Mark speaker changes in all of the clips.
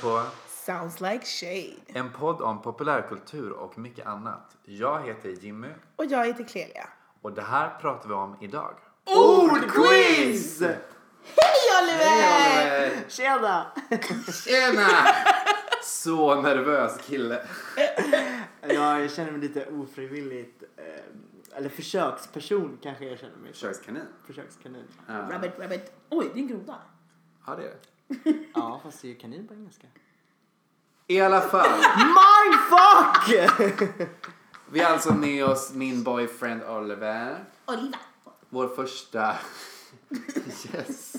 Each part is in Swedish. Speaker 1: på
Speaker 2: Sounds like shade.
Speaker 1: en podd om populärkultur och mycket annat. Jag heter Jimmy
Speaker 2: Och jag heter Clelia.
Speaker 1: och det här pratar vi om idag.
Speaker 2: Ordquiz! Hej Oliver!
Speaker 1: Hej, Oliver!
Speaker 2: Tjena!
Speaker 1: Tjena! Så nervös kille.
Speaker 3: Jag känner mig lite ofrivilligt, eh, eller försöksperson kanske jag känner mig.
Speaker 1: Försökskanin.
Speaker 3: Försökskanin.
Speaker 1: Ja,
Speaker 2: Rabbit, rabbit. Oj, det är en groda.
Speaker 1: ja, det är det.
Speaker 3: Ja, fast det är ju kanin på engelska.
Speaker 1: I alla fall,
Speaker 3: Mindfuck!
Speaker 1: vi har alltså med oss min boyfriend Oliver.
Speaker 2: Oliva.
Speaker 1: Vår första gäst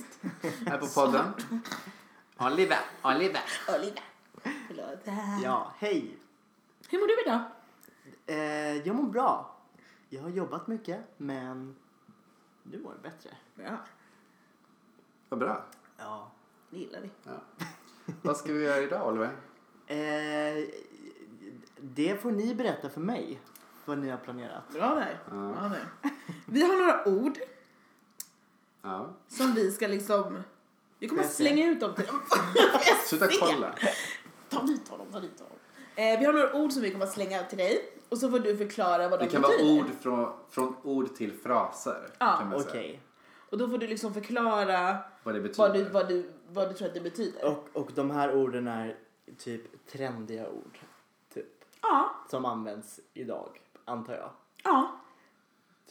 Speaker 1: här på podden. Oliver, Oliver.
Speaker 2: Oliva. Förlåt.
Speaker 3: ja, hej.
Speaker 2: Hur mår du idag?
Speaker 3: Eh, jag mår bra. Jag har jobbat mycket, men nu mår jag bättre.
Speaker 2: Bra.
Speaker 1: Vad bra.
Speaker 3: Ja.
Speaker 2: Det gillar vi.
Speaker 1: Ja. Vad ska vi göra idag Oliver?
Speaker 3: Eh, det får ni berätta för mig, vad ni har planerat.
Speaker 2: Bra där. Bra där. Vi har några ord
Speaker 1: Ja.
Speaker 2: som vi ska liksom... Vi kommer att
Speaker 3: Jag ser.
Speaker 2: slänga ut dem till...
Speaker 1: Sluta kolla.
Speaker 2: Ta dit honom, ta dit honom. Eh, vi har några ord som vi kommer att slänga ut till dig och så får du förklara vad de
Speaker 1: Det kan vara
Speaker 2: betyder.
Speaker 1: ord från, från ord till fraser.
Speaker 2: Ja,
Speaker 1: kan man säga.
Speaker 3: Okej.
Speaker 2: Och då får du liksom förklara
Speaker 1: Vad det betyder.
Speaker 2: vad du, vad, du, vad du tror att det betyder.
Speaker 3: Och, och de här orden är typ trendiga ord, typ.
Speaker 2: Ja,
Speaker 3: Som används idag, antar jag.
Speaker 2: ja.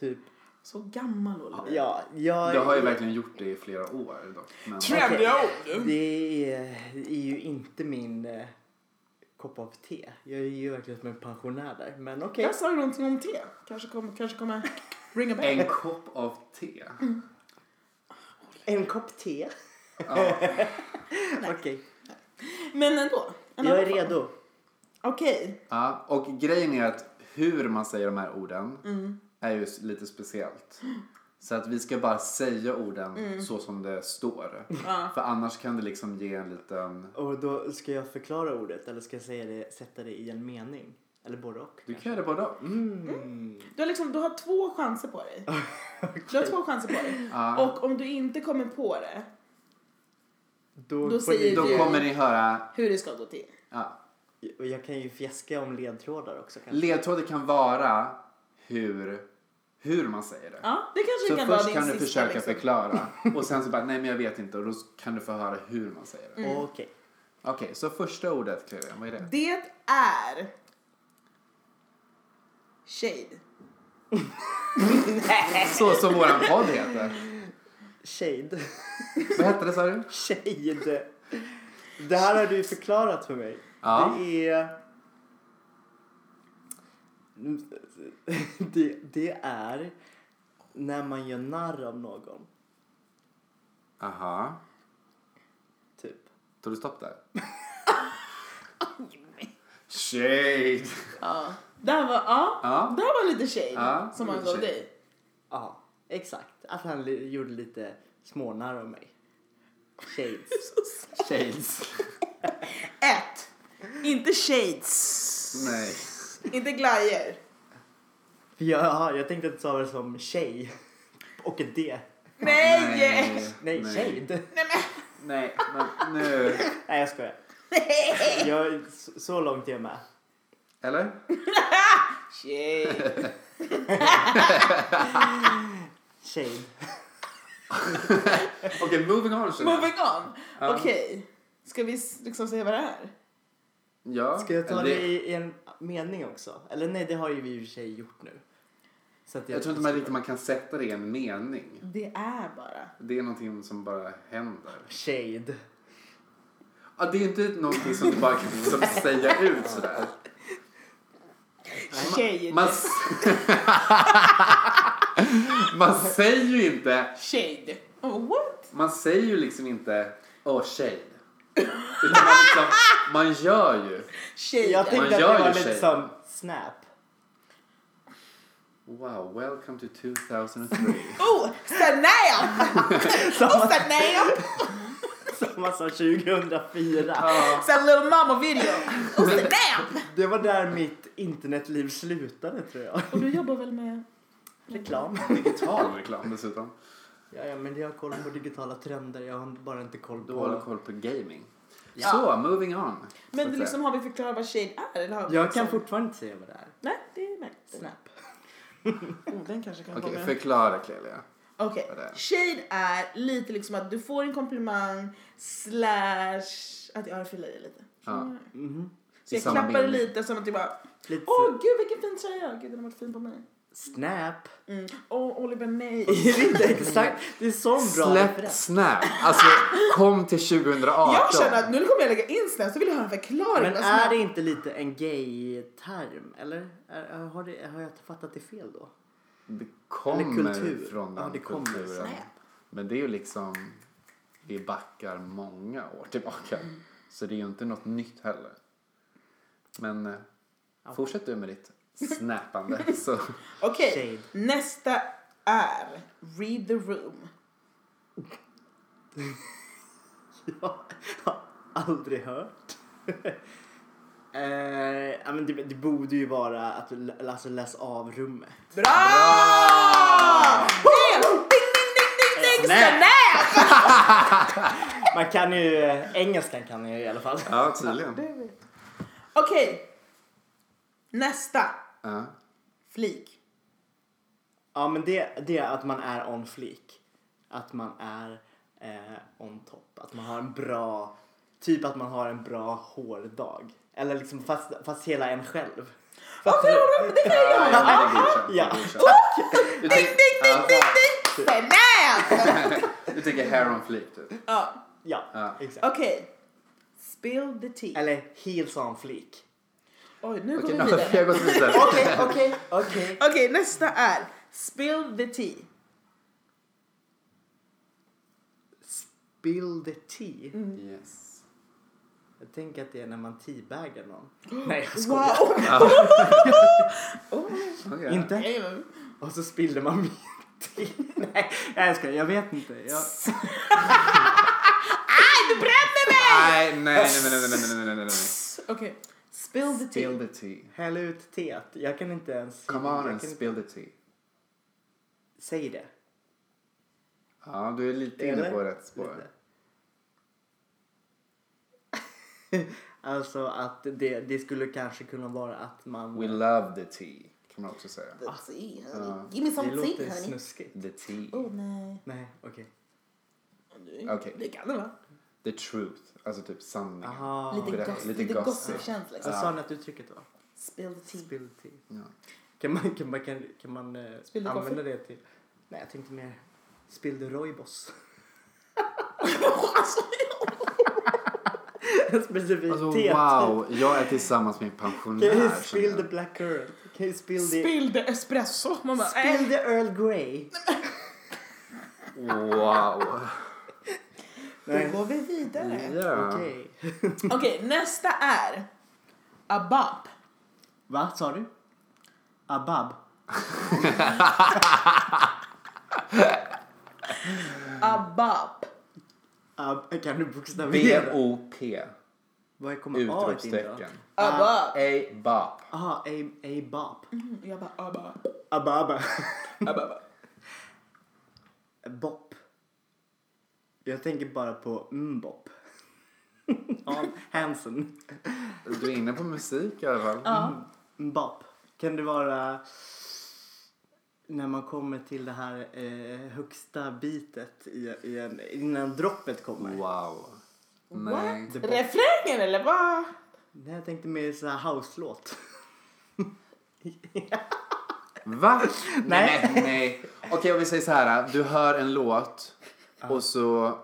Speaker 3: Typ
Speaker 2: Så gammal Oliver.
Speaker 3: Ja, jag...
Speaker 1: Du har ju verkligen gjort det i flera år. Dock. Men,
Speaker 2: Tre- Trendiga ord.
Speaker 3: Det är, det är ju inte min eh, kopp av te. Jag är ju verkligen som en pensionär där. Men okej.
Speaker 2: Jag sa ju någonting om te. Kanske kommer, kanske kommer ringa
Speaker 3: Eh,
Speaker 2: bell.
Speaker 1: en kopp av te.
Speaker 2: Mm.
Speaker 3: En kopp te.
Speaker 1: Ja.
Speaker 3: Okej.
Speaker 2: Men ändå. en
Speaker 3: Jag är
Speaker 2: annan form.
Speaker 3: redo.
Speaker 2: Okej.
Speaker 1: Ja. Och grejen är att hur man säger de här orden
Speaker 2: Mm.
Speaker 1: är ju lite speciellt. Så att vi ska bara säga orden
Speaker 2: Mm.
Speaker 1: så som det står.
Speaker 2: Ja.
Speaker 1: För annars kan det liksom ge en liten...
Speaker 3: Och då ska jag förklara ordet eller ska jag säga det, sätta det i en mening? Eller både och.
Speaker 1: Du kan göra det både och.
Speaker 3: Mm.
Speaker 2: Du, har liksom, du har två chanser på dig. Du har två chanser på dig.
Speaker 1: Ja.
Speaker 2: Och om du inte kommer på det,
Speaker 3: Då,
Speaker 2: Då
Speaker 3: får
Speaker 2: säger
Speaker 1: Då
Speaker 3: ni,
Speaker 2: du-
Speaker 1: kommer ni höra...
Speaker 2: hur det ska gå till.
Speaker 1: Ja.
Speaker 3: Och jag kan ju fjäska om ledtrådar också kanske.
Speaker 1: Ledtrådar kan vara hur, hur man säger det.
Speaker 2: Ja, det kanske
Speaker 1: Så
Speaker 2: kan vara
Speaker 1: först
Speaker 2: din
Speaker 1: kan du
Speaker 2: sista,
Speaker 1: försöka
Speaker 2: liksom.
Speaker 1: förklara och sen så bara nej men jag vet inte och då kan du få höra hur man säger det.
Speaker 2: Mm.
Speaker 3: Okej.
Speaker 1: Okej, så första ordet Clerian, vad är det?
Speaker 2: Det är... Shade.
Speaker 1: Så som våran podd heter.
Speaker 3: Shade.
Speaker 1: Vad hette det sa du?
Speaker 3: Shade. Det här har du förklarat för mig.
Speaker 1: Ja.
Speaker 3: Det är... Det, det är när man gör narr av någon,
Speaker 1: Aha.
Speaker 3: typ.
Speaker 1: Tog du stopp där? Shade!
Speaker 2: Ja. Det här var, ja.
Speaker 1: Ja.
Speaker 2: Det här var lite shade
Speaker 1: Ja,
Speaker 2: som han
Speaker 1: lite
Speaker 2: gav
Speaker 1: shade.
Speaker 2: dig.
Speaker 3: Ja, exakt. Att han li- gjorde lite smånarr av mig. Shades.
Speaker 1: Shades.
Speaker 2: Ett. Inte shades.
Speaker 1: Nej.
Speaker 2: Inte glajer.
Speaker 3: För jag, ja, jag tänkte att du sa det som tjej och ett D.
Speaker 2: Nej!
Speaker 3: Nej, shade.
Speaker 1: Nej, men nu.
Speaker 3: Nej, jag skojar. Jag, så, så långt är jag med.
Speaker 1: Eller?
Speaker 2: Shade.
Speaker 3: Shade.
Speaker 1: Okej, moving on. känner jag.
Speaker 2: Moving on.
Speaker 1: Ja.
Speaker 2: Okej. Ska vi s- liksom säga vad det är?
Speaker 1: Ja.
Speaker 3: Ska jag ta
Speaker 1: eller
Speaker 3: det i, i en mening också? Eller nej, det har ju vi i och för sig gjort nu. Så att
Speaker 1: Jag tror inte man riktigt man kan sätta det i en mening.
Speaker 2: Det är bara.
Speaker 1: Det är någonting som bara händer.
Speaker 3: Shade.
Speaker 1: Ja, det är inte någonting som du bara kan liksom säga ut sådär.
Speaker 2: Shade.
Speaker 1: Man, s- man säger ju inte,
Speaker 2: Shade. Oh, what?
Speaker 1: man säger ju liksom inte åh shade. Utan man, liksom, man gör ju.
Speaker 2: Shade.
Speaker 3: Jag
Speaker 1: Man
Speaker 3: tänkte att det
Speaker 1: gör ju
Speaker 3: var lite
Speaker 1: shade.
Speaker 3: som Snap.
Speaker 1: Wow, welcome to 2003.
Speaker 2: Oh, Sanam! Oh,
Speaker 3: Samma
Speaker 2: Sanam!
Speaker 3: som man sa 2004.
Speaker 1: Ja,
Speaker 2: Sen Little Mama video. Oh, Sanam!
Speaker 3: Det var där mitt internetliv slutade tror jag.
Speaker 2: Och du jobbar väl med...
Speaker 3: Reklam.
Speaker 1: digital reklam dessutom.
Speaker 3: Ja, ja, men jag har koll på digitala trender. Jag har bara inte koll
Speaker 1: Du håller
Speaker 3: på...
Speaker 1: koll på gaming.
Speaker 3: Ja.
Speaker 1: Så, moving on.
Speaker 2: Men
Speaker 1: Så
Speaker 2: det
Speaker 1: att
Speaker 2: liksom, har vi förklarat vad shade är? Eller har vi
Speaker 3: Jag
Speaker 2: liksom...
Speaker 3: kan fortfarande inte säga vad det är.
Speaker 2: Nej, det är märkligt.
Speaker 3: Snap.
Speaker 2: Oh, den kanske kan
Speaker 1: säga. Okej,
Speaker 2: vara med.
Speaker 1: förklara Clelia.
Speaker 2: Okej,
Speaker 1: vad det är.
Speaker 2: shade är lite liksom att du får en komplimang slash att jag förlöjar lite.
Speaker 1: Ja.
Speaker 3: Mhm.
Speaker 2: Så
Speaker 1: I
Speaker 2: jag
Speaker 1: samma
Speaker 2: klappar
Speaker 1: mening.
Speaker 2: lite som att jag bara
Speaker 3: Lite
Speaker 2: Åh gud vilken fin tröja, gud den har varit fin på mig.
Speaker 3: snap.
Speaker 2: Mm. Åh Oliver nej.
Speaker 3: Är det inte exakt? Det är sån bra
Speaker 1: Släpp
Speaker 3: referens.
Speaker 1: Snap. Alltså, kom till 2018.
Speaker 2: Jag känner att nu kommer jag lägga in snabbt så vill jag ha en förklaring.
Speaker 3: Men
Speaker 2: Alltså,
Speaker 3: är det inte lite en gay-term? Eller är, har, det, har jag fattat det fel då?
Speaker 1: Det
Speaker 3: Eller
Speaker 1: kommer
Speaker 3: kultur.
Speaker 1: från den
Speaker 3: Ja, det kommer.
Speaker 1: kulturen.
Speaker 2: Snap.
Speaker 1: Men det är ju liksom, vi backar många år tillbaka.
Speaker 3: Mm.
Speaker 1: Så det är ju inte något nytt heller. Men eh, fortsätt du med ditt snappande. så.
Speaker 2: Okej,
Speaker 3: Shade.
Speaker 2: nästa är read the room.
Speaker 3: Jag har aldrig hört. eh, ja, men det, det borde ju vara att du lä- alltså, läsa av rummet.
Speaker 2: Bra! Del! Ah! Ding, ding, ding, ding, ding!
Speaker 3: Snap.
Speaker 2: Snap!
Speaker 3: Man kan ju, engelskan kan jag i alla fall.
Speaker 1: Ja, tydligen.
Speaker 2: Okej, nästa.
Speaker 1: Ja.
Speaker 2: Flik.
Speaker 3: Ja men det, det är att man är on fleek. Att man är eh, on top. Att man har en bra, typ att man har en bra hårdag. Eller liksom fast, fast hela en själv. Fattar du?
Speaker 2: Men Det kan jag göra.
Speaker 1: Ja, det är godkänt, det är godkänt.
Speaker 3: Ja.
Speaker 1: Du
Speaker 2: Ding,
Speaker 1: tänker-
Speaker 2: ding, ding,
Speaker 1: ja,
Speaker 2: ding, ding! Snap!
Speaker 1: Du tänker hair on fleek typ.
Speaker 2: Ja,
Speaker 3: Ja,
Speaker 1: Ja.
Speaker 3: exakt.
Speaker 2: Okej. Spill the tea.
Speaker 3: Eller heels on fleek.
Speaker 2: Oj, nu
Speaker 1: Okej, nu
Speaker 2: går
Speaker 1: har
Speaker 2: vi
Speaker 1: vi
Speaker 2: vidare.
Speaker 1: gått vidare.
Speaker 3: Okej, okej, okej.
Speaker 2: Okej, nästa är spill the tea.
Speaker 3: Spill the tea.
Speaker 1: Yes.
Speaker 3: Jag tänker att det är när man teabagar någon. Nej jag skojar.
Speaker 2: Wow!
Speaker 1: Okej.
Speaker 3: Inte? Och så spillde man mitt te. Nej jag skojar, jag vet inte. Jag...
Speaker 2: Du bränner mig!
Speaker 1: Nej, nej, nej, nej, nej, nej, nej, nej, nej, nej.
Speaker 2: Okej. Spill the tea.
Speaker 1: Spill the tea.
Speaker 3: Häll ut teet. Jag kan inte ens...
Speaker 1: Come
Speaker 3: jag
Speaker 1: on
Speaker 3: kan
Speaker 1: and
Speaker 3: inte-
Speaker 1: spill the tea.
Speaker 3: Säg det.
Speaker 1: Ja, du är lite inne
Speaker 3: Eller?
Speaker 1: på rätt spår.
Speaker 3: Lite. alltså att det, det skulle kanske kunna vara att man...
Speaker 1: We love the tea, kan man också säga.
Speaker 2: The tea, honey. Ah, Give me
Speaker 3: det
Speaker 2: some
Speaker 3: låter
Speaker 2: tea, honey.
Speaker 3: snuskigt.
Speaker 1: The tea.
Speaker 2: Åh, nej.
Speaker 3: Nej, okej.
Speaker 1: Okej.
Speaker 2: Det kan det va?
Speaker 1: The truth. Alltså typ sanningen.
Speaker 3: Aha.
Speaker 2: Lite
Speaker 1: Berätta,
Speaker 2: gossip.
Speaker 1: lite
Speaker 2: Lite
Speaker 1: gossip.
Speaker 2: gossip-känsla. liksom.
Speaker 3: Vad sa ni att uttrycket var?
Speaker 2: Spill the tea.
Speaker 3: Spill tea.
Speaker 1: Ja.
Speaker 3: Kan man, kan man, kan, kan man eh,
Speaker 2: Spill the
Speaker 3: använda
Speaker 2: coffee.
Speaker 3: det till... Nej, jag tänkte mer... Spill the roibos.
Speaker 2: Alltså,
Speaker 3: En specifik
Speaker 1: Alltså
Speaker 3: te.
Speaker 1: wow, jag är tillsammans med en
Speaker 3: Can you
Speaker 1: pensionär. känner
Speaker 3: spill the
Speaker 1: jag.
Speaker 3: black curl? Can you spill the...
Speaker 2: Spill the espresso. Man bara,
Speaker 3: Spill
Speaker 2: äh.
Speaker 3: the Earl Grey.
Speaker 1: Wow.
Speaker 2: Då
Speaker 3: Nej.
Speaker 2: går vi vidare.
Speaker 1: Ja.
Speaker 3: Okej.
Speaker 2: Okej, nästa är abab.
Speaker 3: Va, sa du? Abab.
Speaker 2: Abab.
Speaker 3: Ab, kan du bokstavera?
Speaker 1: B-O-P.
Speaker 3: Vad kommer A in då?
Speaker 1: Utropstecken.
Speaker 2: Abab.
Speaker 1: Ah.
Speaker 2: Mm,
Speaker 1: A-bop.
Speaker 3: Aha, a- abab.
Speaker 2: Jag bara abab.
Speaker 3: Ababa.
Speaker 2: abab.
Speaker 3: Bop. Jag tänker bara på mbop. Ja, Hansen.
Speaker 1: Du är inne på musik i alla fall.
Speaker 2: Ja.
Speaker 3: Mbop. Kan det vara när man kommer till det här eh, högsta bitet i, i en, innan droppet kommer?
Speaker 1: Wow. Nej.
Speaker 2: What? Refrängen eller vad?
Speaker 3: Nej, jag tänkte mer så här house-låt.
Speaker 1: Va? Nej. nej, nej. Okej, om vi säger så här. Du hör en låt och så,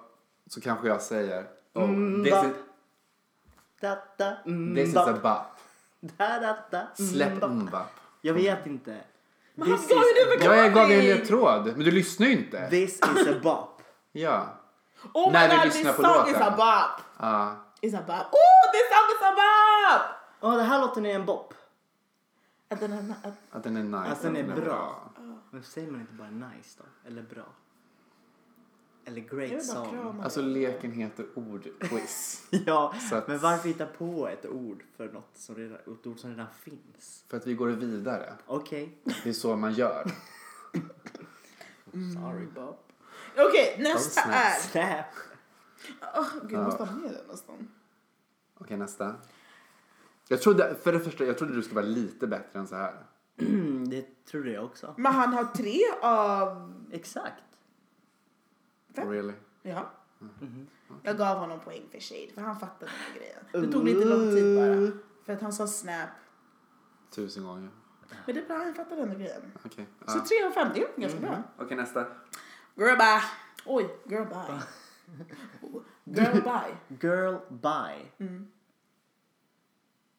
Speaker 1: så kanske jag säger oh, this,
Speaker 3: bop.
Speaker 1: is,
Speaker 3: Da, da, mm,
Speaker 1: this is
Speaker 3: bop.
Speaker 1: a bop.
Speaker 3: Da, da, da, mm,
Speaker 1: Släpp
Speaker 3: bop.
Speaker 1: mbap.
Speaker 3: Jag vet inte.
Speaker 2: Men han
Speaker 3: This
Speaker 2: gav ju
Speaker 3: is-
Speaker 2: dig förklaring!
Speaker 1: Jag gav dig en ledtråd, men du lyssnar ju inte.
Speaker 3: This is a bop.
Speaker 1: Ja.
Speaker 2: Oh my
Speaker 1: när vi
Speaker 2: god,
Speaker 1: lyssnar
Speaker 2: this
Speaker 1: på
Speaker 2: song
Speaker 1: låten.
Speaker 2: is a bop!
Speaker 1: ja.
Speaker 2: Is a bop. Oh, this song is a bop!
Speaker 3: Åh, det här låten är en bop.
Speaker 2: Att den här- att-
Speaker 1: Att den är nice.
Speaker 3: Alltså, den
Speaker 1: att
Speaker 3: är bra. Men säger man inte bara nice då? Eller bra? Eller
Speaker 2: Jag
Speaker 3: great
Speaker 2: vill bara
Speaker 3: song?
Speaker 2: krama
Speaker 1: Alltså leken heter ordquiz.
Speaker 3: Ja,
Speaker 1: Så att-
Speaker 3: men varför hitta på ett ord för något som redan, ett ord som redan finns?
Speaker 1: För att vi går vidare.
Speaker 3: Okej,
Speaker 1: Det är så man gör.
Speaker 3: sorry.
Speaker 2: bop. Okej, nästa
Speaker 1: Oh, snap.
Speaker 2: är...
Speaker 3: Snap.
Speaker 2: Åh, gud, jag måste ha med den nästan.
Speaker 1: Okej, nästa. Jag trodde, för det första, jag trodde du skulle vara lite bättre än så här.
Speaker 3: Mm, det trodde jag också.
Speaker 2: Men han har tre av...
Speaker 3: Exakt.
Speaker 2: Fem.
Speaker 1: Really?
Speaker 2: Ja.
Speaker 1: Mm-hmm.
Speaker 2: Mm-hmm. Jag gav honom poäng för shade, för han fattade den här grejen. Det tog lite lång tid
Speaker 1: Uh.
Speaker 2: bara. För att han sa snap.
Speaker 1: Tusen gånger.
Speaker 2: Men det är bra, han fattade den här grejen.
Speaker 1: Okej.
Speaker 2: Så
Speaker 1: Ja.
Speaker 2: tre av fem, det är ganska bra.
Speaker 1: Okej, nästa.
Speaker 2: Mm-hmm. Girl bye. Oj, girl bye. Girl bye.
Speaker 3: Girl by.
Speaker 2: Mm.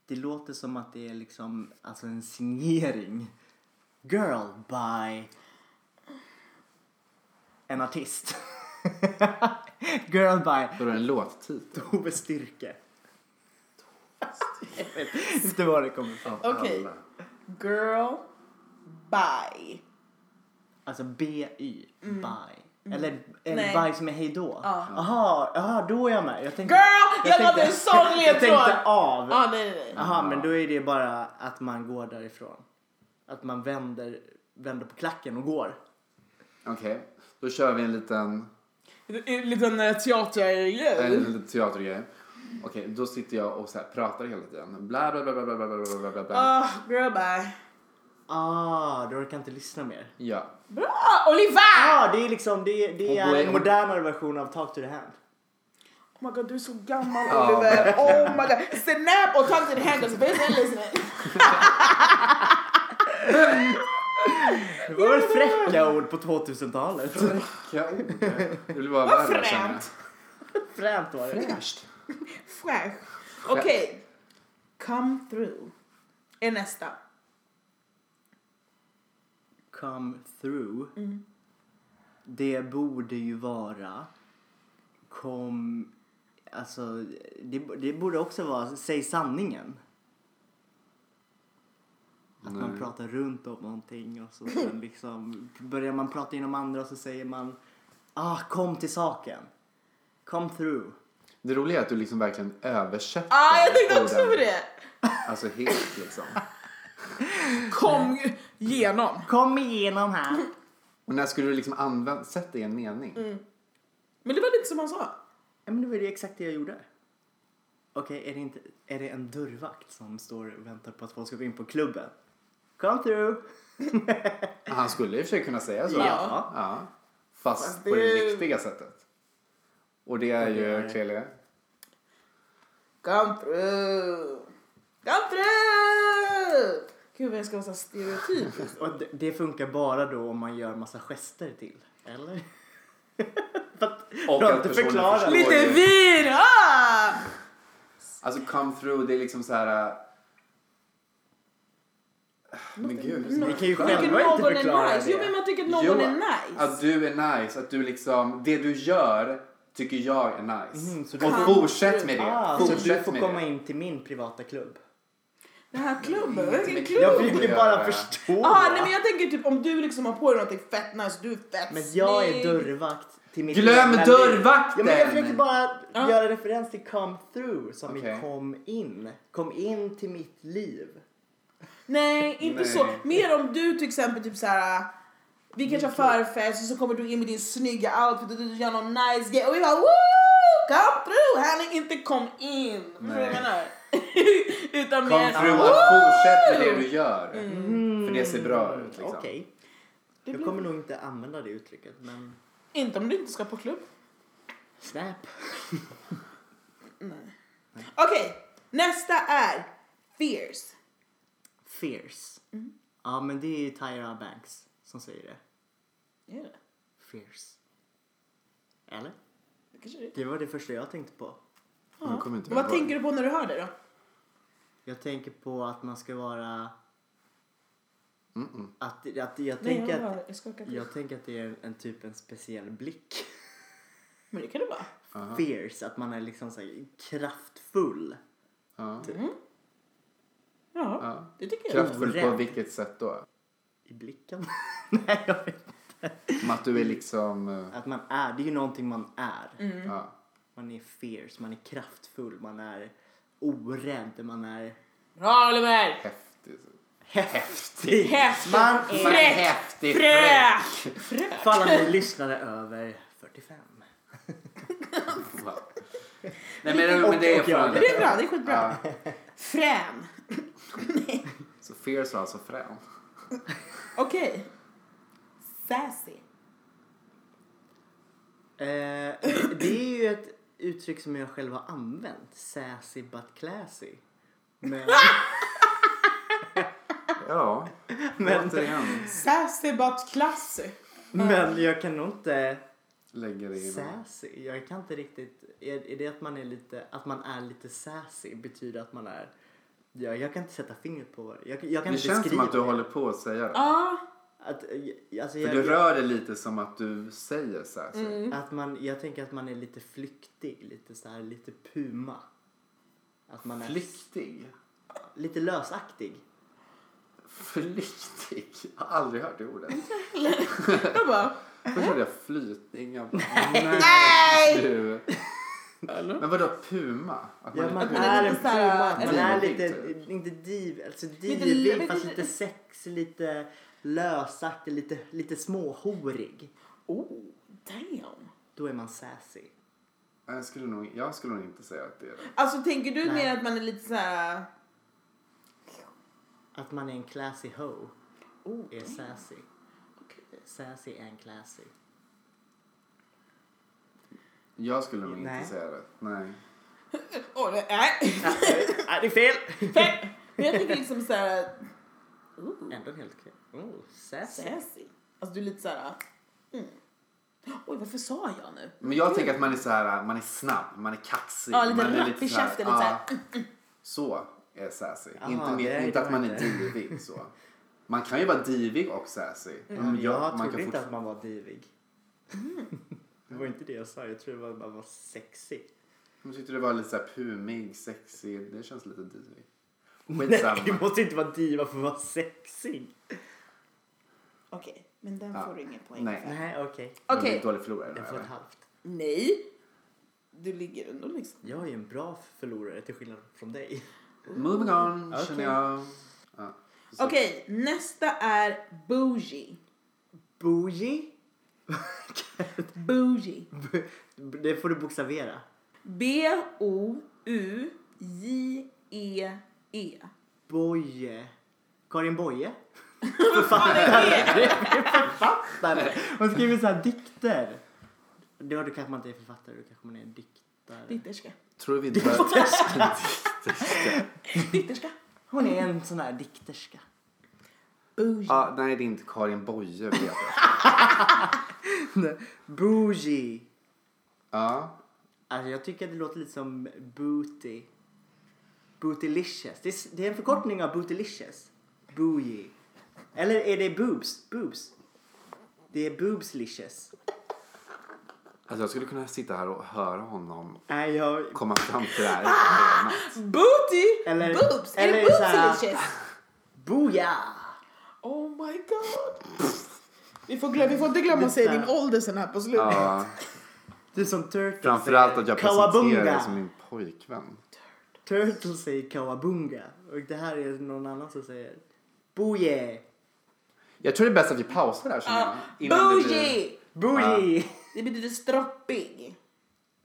Speaker 3: Det låter som att det är liksom alltså en signering. Girl by en artist. Girl by
Speaker 1: Då är det en låttitel.
Speaker 3: Tove Styrke. Jag vet inte var det kommer ifrån.
Speaker 1: av
Speaker 2: Okej.
Speaker 1: alla.
Speaker 2: Girl bye.
Speaker 3: Alltså by, by. Eller, eller
Speaker 2: Mm. Nej.
Speaker 3: by som är hejdå.
Speaker 2: Ja.
Speaker 3: Aha, aha, då är jag med. Jag tänkte,
Speaker 2: Girl! Jag gav dig en sån
Speaker 3: jag tänkte
Speaker 2: ledtråd!
Speaker 3: av.
Speaker 2: Ah, nej, nej, nej.
Speaker 3: Jaha, men då är det bara att man går därifrån. Att man vänder, vänder på klacken och går.
Speaker 1: Okej, då kör vi en liten,
Speaker 2: En liten eh,
Speaker 1: en
Speaker 2: teatergrej.
Speaker 1: liten teatergrej. Okej, då sitter jag och så här pratar hela tiden. Bla, bla, bla, bla, bla, bla, bla, bla, bla, bla.
Speaker 2: Ah, girl bye.
Speaker 3: Ah, du orkar inte lyssna mer.
Speaker 1: Ja.
Speaker 2: Bra! Oliver!
Speaker 3: Ah, det är liksom, det, är- det
Speaker 1: Hon
Speaker 3: är
Speaker 1: går-
Speaker 3: en modernare version av Talk to the hand.
Speaker 2: Oh my god, du är så gammal
Speaker 1: Ja,
Speaker 2: Oliver. Oh my god. Snap och ta till händer. Basically listening.
Speaker 3: Det var väl fräcka ord på 2000-talet?
Speaker 1: Ja, oh, det det blir bara
Speaker 2: Vad
Speaker 1: värre känner jag.
Speaker 2: fränt.
Speaker 3: Fränt var det.
Speaker 1: Fräscht.
Speaker 2: Fräsch. Okej. Come through. Är nästa.
Speaker 3: Come through. Det borde ju vara kom... Alltså, det, det borde också vara säg sanningen. Att man
Speaker 1: Nej.
Speaker 3: pratar runt om någonting och så sen liksom börjar man prata inom andra så säger man ah, kom till saken. Come through.
Speaker 1: Det roliga är att du liksom verkligen översätter
Speaker 2: Ah, jag tänkte också
Speaker 1: orden.
Speaker 2: på det.
Speaker 1: Alltså helt liksom.
Speaker 2: Kom igenom.
Speaker 3: Kom igenom här.
Speaker 1: Och när skulle du liksom använda, sätt det i en mening.
Speaker 2: Mm. Men det var lite som han sa.
Speaker 3: Ja, men det var ju exakt det jag gjorde. Okej, är, det inte, är det en dörrvakt som står och väntar på att folk ska gå in på klubben? Come through!
Speaker 1: Han skulle i och för sig kunna säga så.
Speaker 3: Ja.
Speaker 1: Ja. Fast,
Speaker 2: Fast
Speaker 1: på det
Speaker 2: det-
Speaker 1: riktiga sättet. Och det är
Speaker 3: det är
Speaker 1: ju
Speaker 3: det.
Speaker 1: Clelia.
Speaker 2: Come through. Come through. Gud vad jag ska vara så här stereotyp.
Speaker 3: Och det, det funkar bara då om man gör massa gester till, eller? För att
Speaker 1: Och
Speaker 3: du har
Speaker 1: att
Speaker 3: inte
Speaker 1: personen
Speaker 3: förklarat.
Speaker 1: förstår.
Speaker 2: lite vir. Ah!
Speaker 1: Alltså come through, det är liksom så här. äh, Men gud.
Speaker 3: Vi kan ju
Speaker 2: Jag tycker
Speaker 3: själva inte
Speaker 2: någon
Speaker 3: förklara
Speaker 2: är nice. Jo men
Speaker 3: det. alltså,
Speaker 2: jag tycker att någon
Speaker 1: Jo,
Speaker 2: är nice.
Speaker 1: Att du är nice, att du liksom, det du gör tycker jag är nice.
Speaker 3: Mm, så du-
Speaker 1: och fortsätt med det.
Speaker 3: Ah, så
Speaker 1: fortsätt
Speaker 3: du får
Speaker 1: med
Speaker 3: komma
Speaker 1: det.
Speaker 3: in till min privata klubb.
Speaker 2: Den här klubben, vilken klubb?
Speaker 3: Jag vill ju
Speaker 1: det
Speaker 3: bara
Speaker 1: gör jag.
Speaker 3: förstå.
Speaker 2: Ah, nej, men jag tänker typ om du liksom har på dig någonting fett nice, du är fett
Speaker 3: Men jag är
Speaker 2: snygg.
Speaker 3: dörrvakt till mitt
Speaker 1: Glöm
Speaker 3: egna liv.
Speaker 1: dörrvakten!
Speaker 3: Ja, men jag försökte bara
Speaker 2: Ja.
Speaker 3: göra referens till come through som
Speaker 1: Okej.
Speaker 3: i kom in. Kom in till mitt liv.
Speaker 2: Nej, inte
Speaker 1: Nej.
Speaker 2: så. Mer om du till exempel typ så här. Vi kanske har förfest och så kommer du in med din snygga outfit och du gör någon nice grej och vi bara woo! Come through! Han är inte kom in. Förstår du vad jag
Speaker 1: Nej.
Speaker 2: menar? Utan
Speaker 1: Come
Speaker 2: mer
Speaker 1: through,
Speaker 2: woo! Mm.
Speaker 1: och fortsätt med det du gör.
Speaker 3: Mm.
Speaker 1: För det ser bra ut liksom.
Speaker 3: Okej.
Speaker 2: Det
Speaker 3: Jag
Speaker 2: blir-
Speaker 3: kommer nog inte använda det uttrycket, men
Speaker 2: Inte om du inte ska på klubb.
Speaker 3: snap.
Speaker 2: Nej. Okej, nästa är fierce.
Speaker 3: Fierce.
Speaker 2: Mm.
Speaker 3: Ja, men det är ju Tyra Banks som säger det.
Speaker 2: Är det?
Speaker 3: Fierce. Eller?
Speaker 2: Det kanske det är.
Speaker 3: Det var det första jag tänkte på.
Speaker 1: Hon kommer inte
Speaker 2: Men Vad
Speaker 1: ihåg.
Speaker 2: tänker du på när du hör det då?
Speaker 3: Jag tänker på att man ska vara... Att, att, jag,
Speaker 2: Nej,
Speaker 3: tänker
Speaker 2: jag,
Speaker 3: att,
Speaker 2: hör- jag skakar på.
Speaker 3: jag tänker att det är en, en typ en speciell blick.
Speaker 2: Men det kan det vara.
Speaker 3: Fierce, att man är liksom så här kraftfull.
Speaker 1: Ja.
Speaker 2: Ja,
Speaker 1: Ja.
Speaker 2: det tycker jag.
Speaker 1: Kraftfull på
Speaker 3: Orädd.
Speaker 1: vilket sätt då?
Speaker 3: I blicken? Nej, jag vet
Speaker 1: Som att du är liksom... eh,
Speaker 3: Att man är, det är ju någonting man är.
Speaker 2: Mm.
Speaker 1: Ja.
Speaker 3: Man är fierce, man är kraftfull, man är orädd, man är
Speaker 2: Bra Oliver!
Speaker 1: Häftig.
Speaker 3: häftig.
Speaker 2: Häftig.
Speaker 3: Man
Speaker 2: Man
Speaker 3: är...
Speaker 2: är- Fräck.
Speaker 1: häftig.
Speaker 2: Fräk!
Speaker 3: För alla ni lyssnare över 45.
Speaker 1: Va? Nej, men, men det är
Speaker 3: Och- och jag.
Speaker 1: från...
Speaker 2: Det är bra, det är skitbra.
Speaker 1: Ja.
Speaker 2: Frän.
Speaker 1: Så fierce var alltså frän.
Speaker 2: Okej. Sassy.
Speaker 3: Eh, det är ju ett uttryck som jag själv har använt. Sassy but classy. Men,
Speaker 1: Ja,
Speaker 3: Men-
Speaker 1: återigen
Speaker 2: Sassy but classy.
Speaker 3: men jag kan nog inte
Speaker 1: lägger det in.
Speaker 3: sassy. Jag kan inte riktigt. Är, är det att man är lite, att man är lite sassy betyder att man är. Ja, jag kan inte sätta fingret på vad det. Jag, jag kan
Speaker 1: Det
Speaker 3: inte
Speaker 1: känns som
Speaker 3: beskriva
Speaker 1: att du
Speaker 3: det.
Speaker 1: håller på att säga det.
Speaker 2: Ja,
Speaker 3: Att, eh, alltså,
Speaker 1: För
Speaker 3: jag, Mm.
Speaker 1: du rör dig lite som att du säger så här. så.
Speaker 2: Mm.
Speaker 3: att man, jag tänker att man är lite flyktig, lite så här, lite puma. Att man är
Speaker 1: Flyktig.
Speaker 3: lite lösaktig.
Speaker 1: Flyktig? Jag har aldrig hört det ordet.
Speaker 2: jag bara...
Speaker 1: Först hörde jag flytning. Jag bara, nej.
Speaker 2: Nej!
Speaker 1: Du. Men vadå puma? Att
Speaker 3: Ja,
Speaker 1: man
Speaker 3: man
Speaker 1: är
Speaker 2: man
Speaker 3: är
Speaker 2: är
Speaker 3: en
Speaker 2: lite såhär-
Speaker 3: puma. Man
Speaker 1: Divig,
Speaker 3: är lite,
Speaker 1: typ.
Speaker 3: inte div, alltså
Speaker 2: Lite-
Speaker 3: divig
Speaker 2: lite-
Speaker 3: fast lite sex, lite lösaktig, lite, lite småhorig.
Speaker 2: Oh, damn.
Speaker 3: Då är man sassy.
Speaker 1: jag, skulle nog, jag skulle nog inte säga att det är det.
Speaker 2: Alltså tänker du
Speaker 3: Nej.
Speaker 2: mer att man är lite så här...
Speaker 3: Att man är en classy ho
Speaker 2: Oh,
Speaker 3: är sassy.
Speaker 2: okej.
Speaker 3: Sassy är en classy.
Speaker 1: Jag skulle nog
Speaker 3: Nej.
Speaker 1: inte säga det. Nej.
Speaker 2: Åh, det- nej.
Speaker 3: Nej, det är fel!
Speaker 2: Men jag tänker liksom så här... Ooh,
Speaker 3: Ändå helt okej. Oh, sassy.
Speaker 2: sassy. Alltså du är lite så här... Mm. Oj, varför sa jag nu?
Speaker 1: Men jag tänker att man är så här, man är snabb, man är kaxig.
Speaker 2: Ja, lite
Speaker 1: man är
Speaker 2: rapp i
Speaker 1: så här,
Speaker 2: käften. Lite så
Speaker 1: ja.
Speaker 2: här... mm.
Speaker 1: Så är sassy.
Speaker 3: Aha,
Speaker 1: inte
Speaker 3: det är
Speaker 1: mer,
Speaker 3: det
Speaker 1: inte att man är
Speaker 3: inte.
Speaker 1: divig så. Man kan ju vara divig och sassy. Men
Speaker 3: Jag
Speaker 1: Mm, man
Speaker 3: trodde
Speaker 1: kan
Speaker 3: inte
Speaker 1: fortfar-
Speaker 3: att man var divig. Mm. Det var inte det jag sa, jag trodde bara att man var sexy.
Speaker 1: Jag tyckte det var lite så här pumig, sexig. Det känns lite divig.
Speaker 3: Nej, du
Speaker 1: Skitsamma.
Speaker 3: måste inte vara diva för att vara sexig.
Speaker 2: Okej, men den
Speaker 1: Ja.
Speaker 2: får du ingen poäng
Speaker 1: Nej.
Speaker 2: för.
Speaker 3: Nej, okej.
Speaker 1: Man
Speaker 2: Okej.
Speaker 1: blir dålig förlorare.
Speaker 3: Jag får
Speaker 1: eller?
Speaker 3: ett halvt.
Speaker 2: Nej. Du ligger ändå liksom...
Speaker 3: Jag är ju en bra förlorare till skillnad från dig.
Speaker 1: Moving on,
Speaker 3: Okej.
Speaker 1: känner jag. Ja. Så-
Speaker 2: Okej, nästa är bougie.
Speaker 3: Bougie?
Speaker 2: Bougie.
Speaker 3: Det får du bokstavera.
Speaker 2: E B-O-U-J-E-E.
Speaker 3: Boje. Karin Boye?
Speaker 2: Ja, det är det.
Speaker 3: Författare! Hon skriver så här dikter. Då du kanske man inte är författare, då kanske man är en diktare.
Speaker 2: Ditterska.
Speaker 1: Tror vi dör.
Speaker 2: Ditterska.
Speaker 3: Hon är en sån här dikterska.
Speaker 2: Bougie.
Speaker 1: ja, nej, det är inte Karin Boye. Vet jag.
Speaker 3: Bougie.
Speaker 1: Ja.
Speaker 3: Alltså jag tycker att det låter lite som booty. Bootylicious. Det är, s- det är en förkortning av bootylicious. Bougie. Eller är det boobs? Boobs. Det är boobslicious.
Speaker 1: Alltså, jag skulle kunna sitta här och höra honom
Speaker 3: Nej, jag...
Speaker 1: komma fram till det här.
Speaker 2: Booty!
Speaker 3: Eller-
Speaker 2: boobs! är
Speaker 3: eller
Speaker 2: det
Speaker 3: så här-
Speaker 2: boobsilicious?
Speaker 3: Booja!
Speaker 2: Oh my god. Vi får, glöm, vi får inte glömma att säga din ålder sen här på slutet.
Speaker 1: Ja,
Speaker 3: Du som Turtles
Speaker 1: framförallt att jag presenterar
Speaker 3: Kawabunga.
Speaker 1: dig som min pojkvän.
Speaker 3: Turtles säger kawabunga. Och det här är någon annan som säger booje.
Speaker 1: Jag tror det är bäst att vi pausar där. känner jag.
Speaker 2: Ja,
Speaker 1: Innan det
Speaker 2: bougie!
Speaker 1: blir-
Speaker 3: Booje!
Speaker 2: Det betyder stroppig.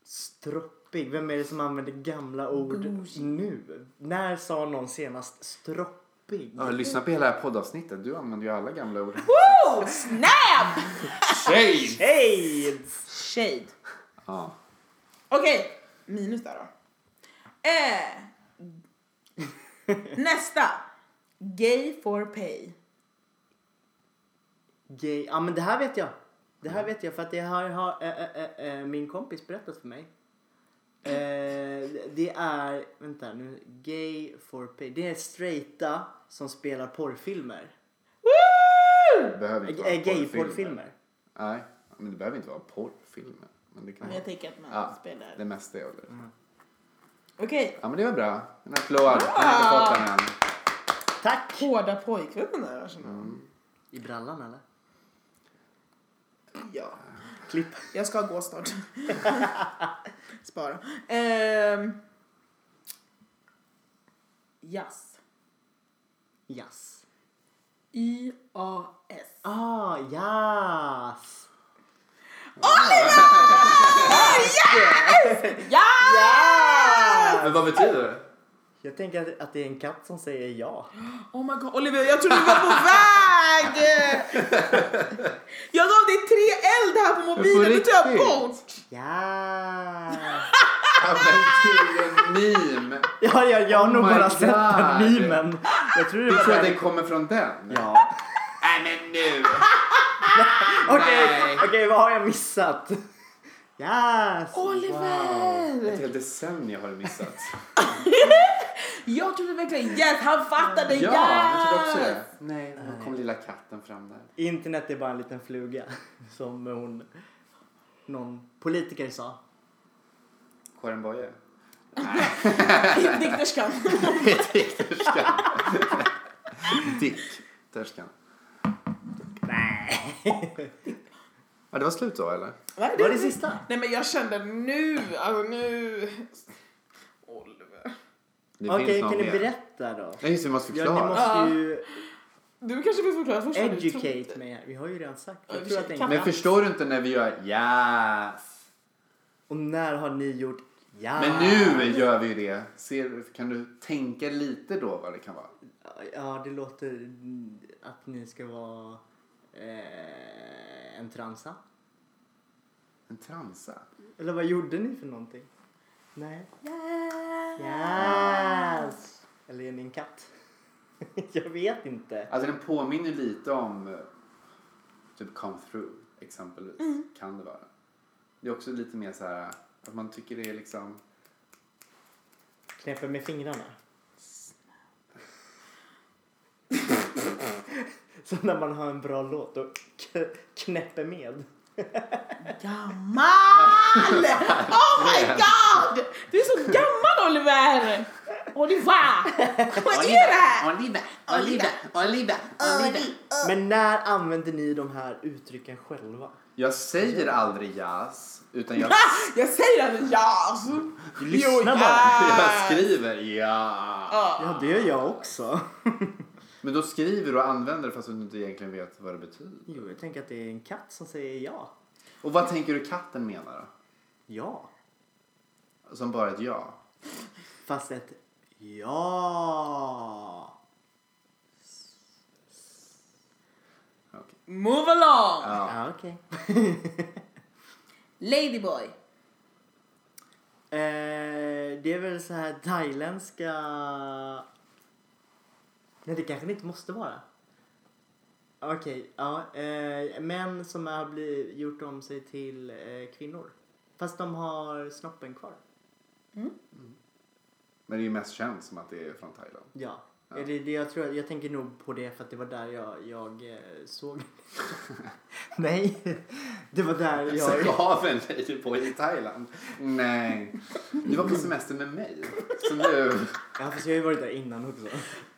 Speaker 3: Stroppig. Vem är det som använder gamla ord
Speaker 2: Bougie.
Speaker 3: nu? När sa någon senast stroppig?
Speaker 1: Ja, lyssna på hela det här poddavsnittet. Du använder ju alla gamla ord.
Speaker 2: Woo! Snap!
Speaker 1: Shade!
Speaker 3: Aids!
Speaker 2: Shade.
Speaker 1: Ja.
Speaker 2: Okej, minus där då. Eh, nästa. Gay for pay.
Speaker 3: Gay. Ja, men det här vet jag. Det här vet jag för att det här har äh, äh, äh, min kompis berättat för mig. Eh, det är, vänta nu, gay for pay. Det är straighta som spelar porrfilmer.
Speaker 2: Woo!
Speaker 1: Behöver inte vara
Speaker 3: Äh, Gay-porrfilmer.
Speaker 1: Nej, men det behöver inte vara porrfilmer. Men det kan
Speaker 2: Men jag tänker att man
Speaker 1: ja,
Speaker 2: spelar.
Speaker 1: Det mesta är väl det.
Speaker 2: Okej,
Speaker 1: Ja, men det var bra. En applåd. Jag har inte fått den än.
Speaker 3: Tack!
Speaker 2: hårda pojkvännen där. alltså.
Speaker 3: I brallan eller?
Speaker 2: Ja,
Speaker 3: Klipp.
Speaker 2: jag ska gå snart. Spara. Ehm. Jazz.
Speaker 3: Yes.
Speaker 2: Y-A-S.
Speaker 3: Ah, yes!
Speaker 2: Oliver! Ja!
Speaker 1: Men vad betyder det?
Speaker 3: Jag tänker att, att det är en katt som säger ja.
Speaker 2: Oh my god, Olivia, jag trodde du var på väg! Jag gav dig tre eld här på mobilen,
Speaker 1: På
Speaker 2: det tog jag
Speaker 1: riktigt?
Speaker 2: bort!
Speaker 3: Ja!
Speaker 1: Ja, men det är ju en meme.
Speaker 3: Ja, ja, jag har nog
Speaker 1: my
Speaker 3: bara sett den
Speaker 1: God.
Speaker 3: memen. Jag tror det
Speaker 1: Du
Speaker 3: var
Speaker 1: tror att det
Speaker 3: den.
Speaker 1: kommer från den?
Speaker 3: Ja.
Speaker 1: Nej men nu!
Speaker 3: Okej,
Speaker 1: Nej.
Speaker 3: okej, vad har jag missat? Yes!
Speaker 2: Oliver!
Speaker 1: Ett helt decennium har du missat.
Speaker 2: Jag trodde verkligen yes, han fattade
Speaker 1: Ja,
Speaker 2: yes!
Speaker 1: jag trodde också det. Nej, då kom lilla katten fram där.
Speaker 3: Internet är bara en liten fluga som hon, någon politiker sa.
Speaker 1: Karin Boye.
Speaker 2: Dikterskan.
Speaker 1: Dikterskan. Dikterskan.
Speaker 3: Nej.
Speaker 1: Ja, det var slut då eller?
Speaker 2: Vad är
Speaker 3: Vad är det sista?
Speaker 2: Nej men jag kände nu, alltså nu... Oliver.
Speaker 1: Det
Speaker 3: Okej,
Speaker 1: finns någon
Speaker 3: kan ni
Speaker 1: mer.
Speaker 3: berätta då?
Speaker 1: Nej just det, vi måste
Speaker 3: Ja, ni
Speaker 1: förklara.
Speaker 3: måste ju
Speaker 2: Du kanske vill förklara först vad du
Speaker 3: educate
Speaker 2: trodde.
Speaker 3: mig här. Vi har ju redan sagt.
Speaker 2: Ja,
Speaker 3: Jag
Speaker 2: vi
Speaker 3: tror
Speaker 2: ska-
Speaker 3: att det är
Speaker 2: kan-
Speaker 3: en
Speaker 1: Men
Speaker 3: katt.
Speaker 1: förstår du inte när vi gör yes?
Speaker 3: Och när har ni gjort ja?
Speaker 1: Men
Speaker 3: Ah.
Speaker 1: nu gör vi ju det. Ser, kan du tänka lite då vad det kan vara?
Speaker 3: Ja, det låter mm, att ni ska vara eh, en transa.
Speaker 1: En transa?
Speaker 3: Eller vad gjorde ni för någonting? Nej. Yes! Eller är ni en katt? jag vet inte.
Speaker 1: Alltså den påminner lite om eh, typ come through exempelvis.
Speaker 3: Mm.
Speaker 1: Kan det vara. Det är också lite mer så här att man tycker det är liksom
Speaker 3: Knäpper med fingrarna. Så när man har en bra låt och k- knäpper med.
Speaker 2: Gammal! Oh my god! Du är så gammal Oliver! Oliver! Vad är det här?
Speaker 1: Oliver, Oliver, Oliver, Oliver.
Speaker 3: Men när använder ni de här uttrycken själva?
Speaker 1: Jag säger aldrig yes utan jag,
Speaker 2: Jag säger aldrig ja!
Speaker 3: Du lyssnar bara.
Speaker 1: jag skriver ja.
Speaker 2: Ja.
Speaker 3: Ja, det gör jag också.
Speaker 1: Men då skriver du och använder det fast du inte egentligen vet vad det betyder.
Speaker 3: Jo, jag tänker att det är en katt som säger ja.
Speaker 1: Och vad tänker du katten menar
Speaker 3: Ja.
Speaker 1: då? Som bara ett ja.
Speaker 3: Fast ett ja.
Speaker 1: Okej.
Speaker 2: Move along!
Speaker 1: ja.
Speaker 3: Ja, okej.
Speaker 2: Ladyboy.
Speaker 3: Eh, det är väl så här thailändska... Nej, det kanske det inte måste vara. Okej, ja. Eh, män som har blivit, gjort om sig till eh, kvinnor. Fast de har snoppen kvar.
Speaker 1: Men det är ju mest känt som att det är från Thailand.
Speaker 3: Ja. Eh, Det, det, jag, tror, jag tänker nog på det för att det var där jag, jag eh, såg... Nej, det var där jag...
Speaker 1: Jag gav en ladyboy i Thailand. Nej. Du var på semester med mig. Så nu...
Speaker 3: Ja, fast jag har ju varit där innan också.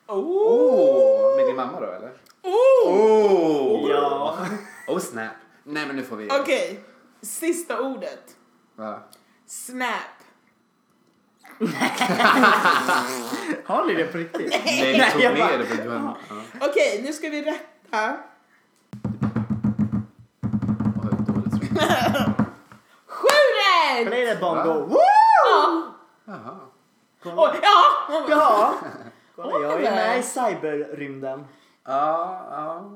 Speaker 2: Oh.
Speaker 1: Oh, med din mamma då eller?
Speaker 2: Oh.
Speaker 1: Oh!
Speaker 3: Ja.
Speaker 1: Oh snap. Nej men nu får vi...
Speaker 2: Okej, sista ordet.
Speaker 1: Va?
Speaker 2: Snap.
Speaker 3: Har ni det på riktigt?
Speaker 1: Nej du tog
Speaker 3: jag bara-
Speaker 1: med det för du har... Ja.
Speaker 2: Okej, nu ska vi rätta.
Speaker 1: Oj, dåligt svar.
Speaker 2: Sju rätt!
Speaker 3: Play that bongo.
Speaker 1: Va?
Speaker 3: Woo!
Speaker 2: Ja.
Speaker 1: Jaha.
Speaker 2: Ah. Oj, ja.
Speaker 3: Ja! Kolla, jag
Speaker 2: Oliver.
Speaker 3: är med i cyberrymden.
Speaker 1: Ja, ja.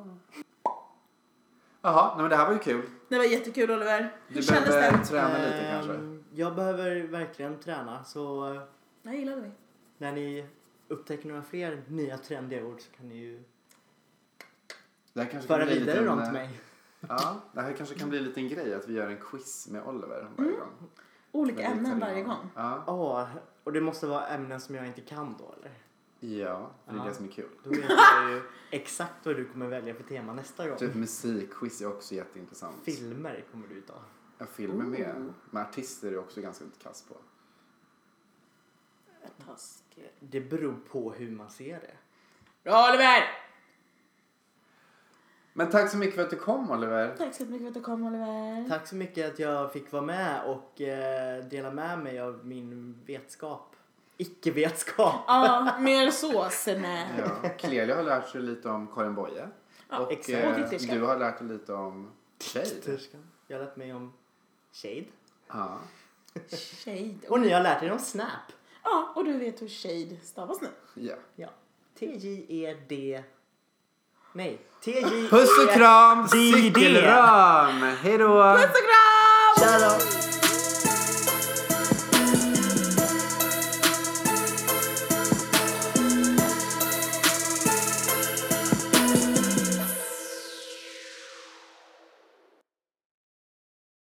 Speaker 1: Jaha, nej, men det här var ju kul.
Speaker 2: Det var jättekul Oliver. Hur
Speaker 1: Du
Speaker 2: kändes Eh,
Speaker 1: behöver
Speaker 2: det?
Speaker 1: träna lite
Speaker 3: Ehm,
Speaker 1: kanske.
Speaker 3: Jag behöver verkligen träna så eh,
Speaker 2: Jag gillade det.
Speaker 3: när ni upptäcker några fler nya trendiga ord så kan ni ju
Speaker 1: Det här kanske
Speaker 3: föra
Speaker 1: kan bli en
Speaker 3: vidare
Speaker 1: liten,
Speaker 3: dem
Speaker 1: eh,
Speaker 3: till mig.
Speaker 1: Ja, det här kanske kan bli en liten grej att vi gör en quiz med Oliver varje gång.
Speaker 2: Olika
Speaker 1: Med
Speaker 2: Mm, ämnen
Speaker 1: italienare.
Speaker 2: varje gång.
Speaker 1: Ja,
Speaker 3: Ja, och det måste vara ämnen som jag inte kan då eller?
Speaker 1: ja det är
Speaker 3: Ja.
Speaker 1: det som är kul.
Speaker 3: Då vet jag ju exakt vad du kommer välja för tema nästa gång.
Speaker 1: Typ musikquiz är också jätteintressant.
Speaker 3: Filmer kommer du ta.
Speaker 1: Ja, filmer med. Men artister är också ganska kass på.
Speaker 3: Det beror på hur man ser det.
Speaker 2: Bra Oliver!
Speaker 1: Men tack så mycket för att du kom Oliver.
Speaker 2: Tack så mycket för att du kom Oliver.
Speaker 3: Tack så mycket att jag fick vara med och eh, dela med mig av min vetskap. Icke-vetskap.
Speaker 2: Ja, mer så snap.
Speaker 1: Ja, Clelia har lärt sig lite om Karin Boye.
Speaker 2: Ja,
Speaker 1: och
Speaker 3: exakt.
Speaker 2: Och
Speaker 1: eh,
Speaker 2: dikterskan.
Speaker 1: du har lärt dig lite om tjejer.
Speaker 3: Dikterskan. Jag har lärt mig om shade.
Speaker 1: Ja.
Speaker 2: Shade.
Speaker 3: Och ni har lärt er om Snap.
Speaker 2: Ja, och du vet hur shade stavas nu.
Speaker 1: ja.
Speaker 3: Ja. T-J-E-D... Nej. E T-J-E...
Speaker 1: Puss och kram,
Speaker 3: Det är det.
Speaker 1: cykelram! Hej då!
Speaker 2: Instagram!
Speaker 3: Tja då!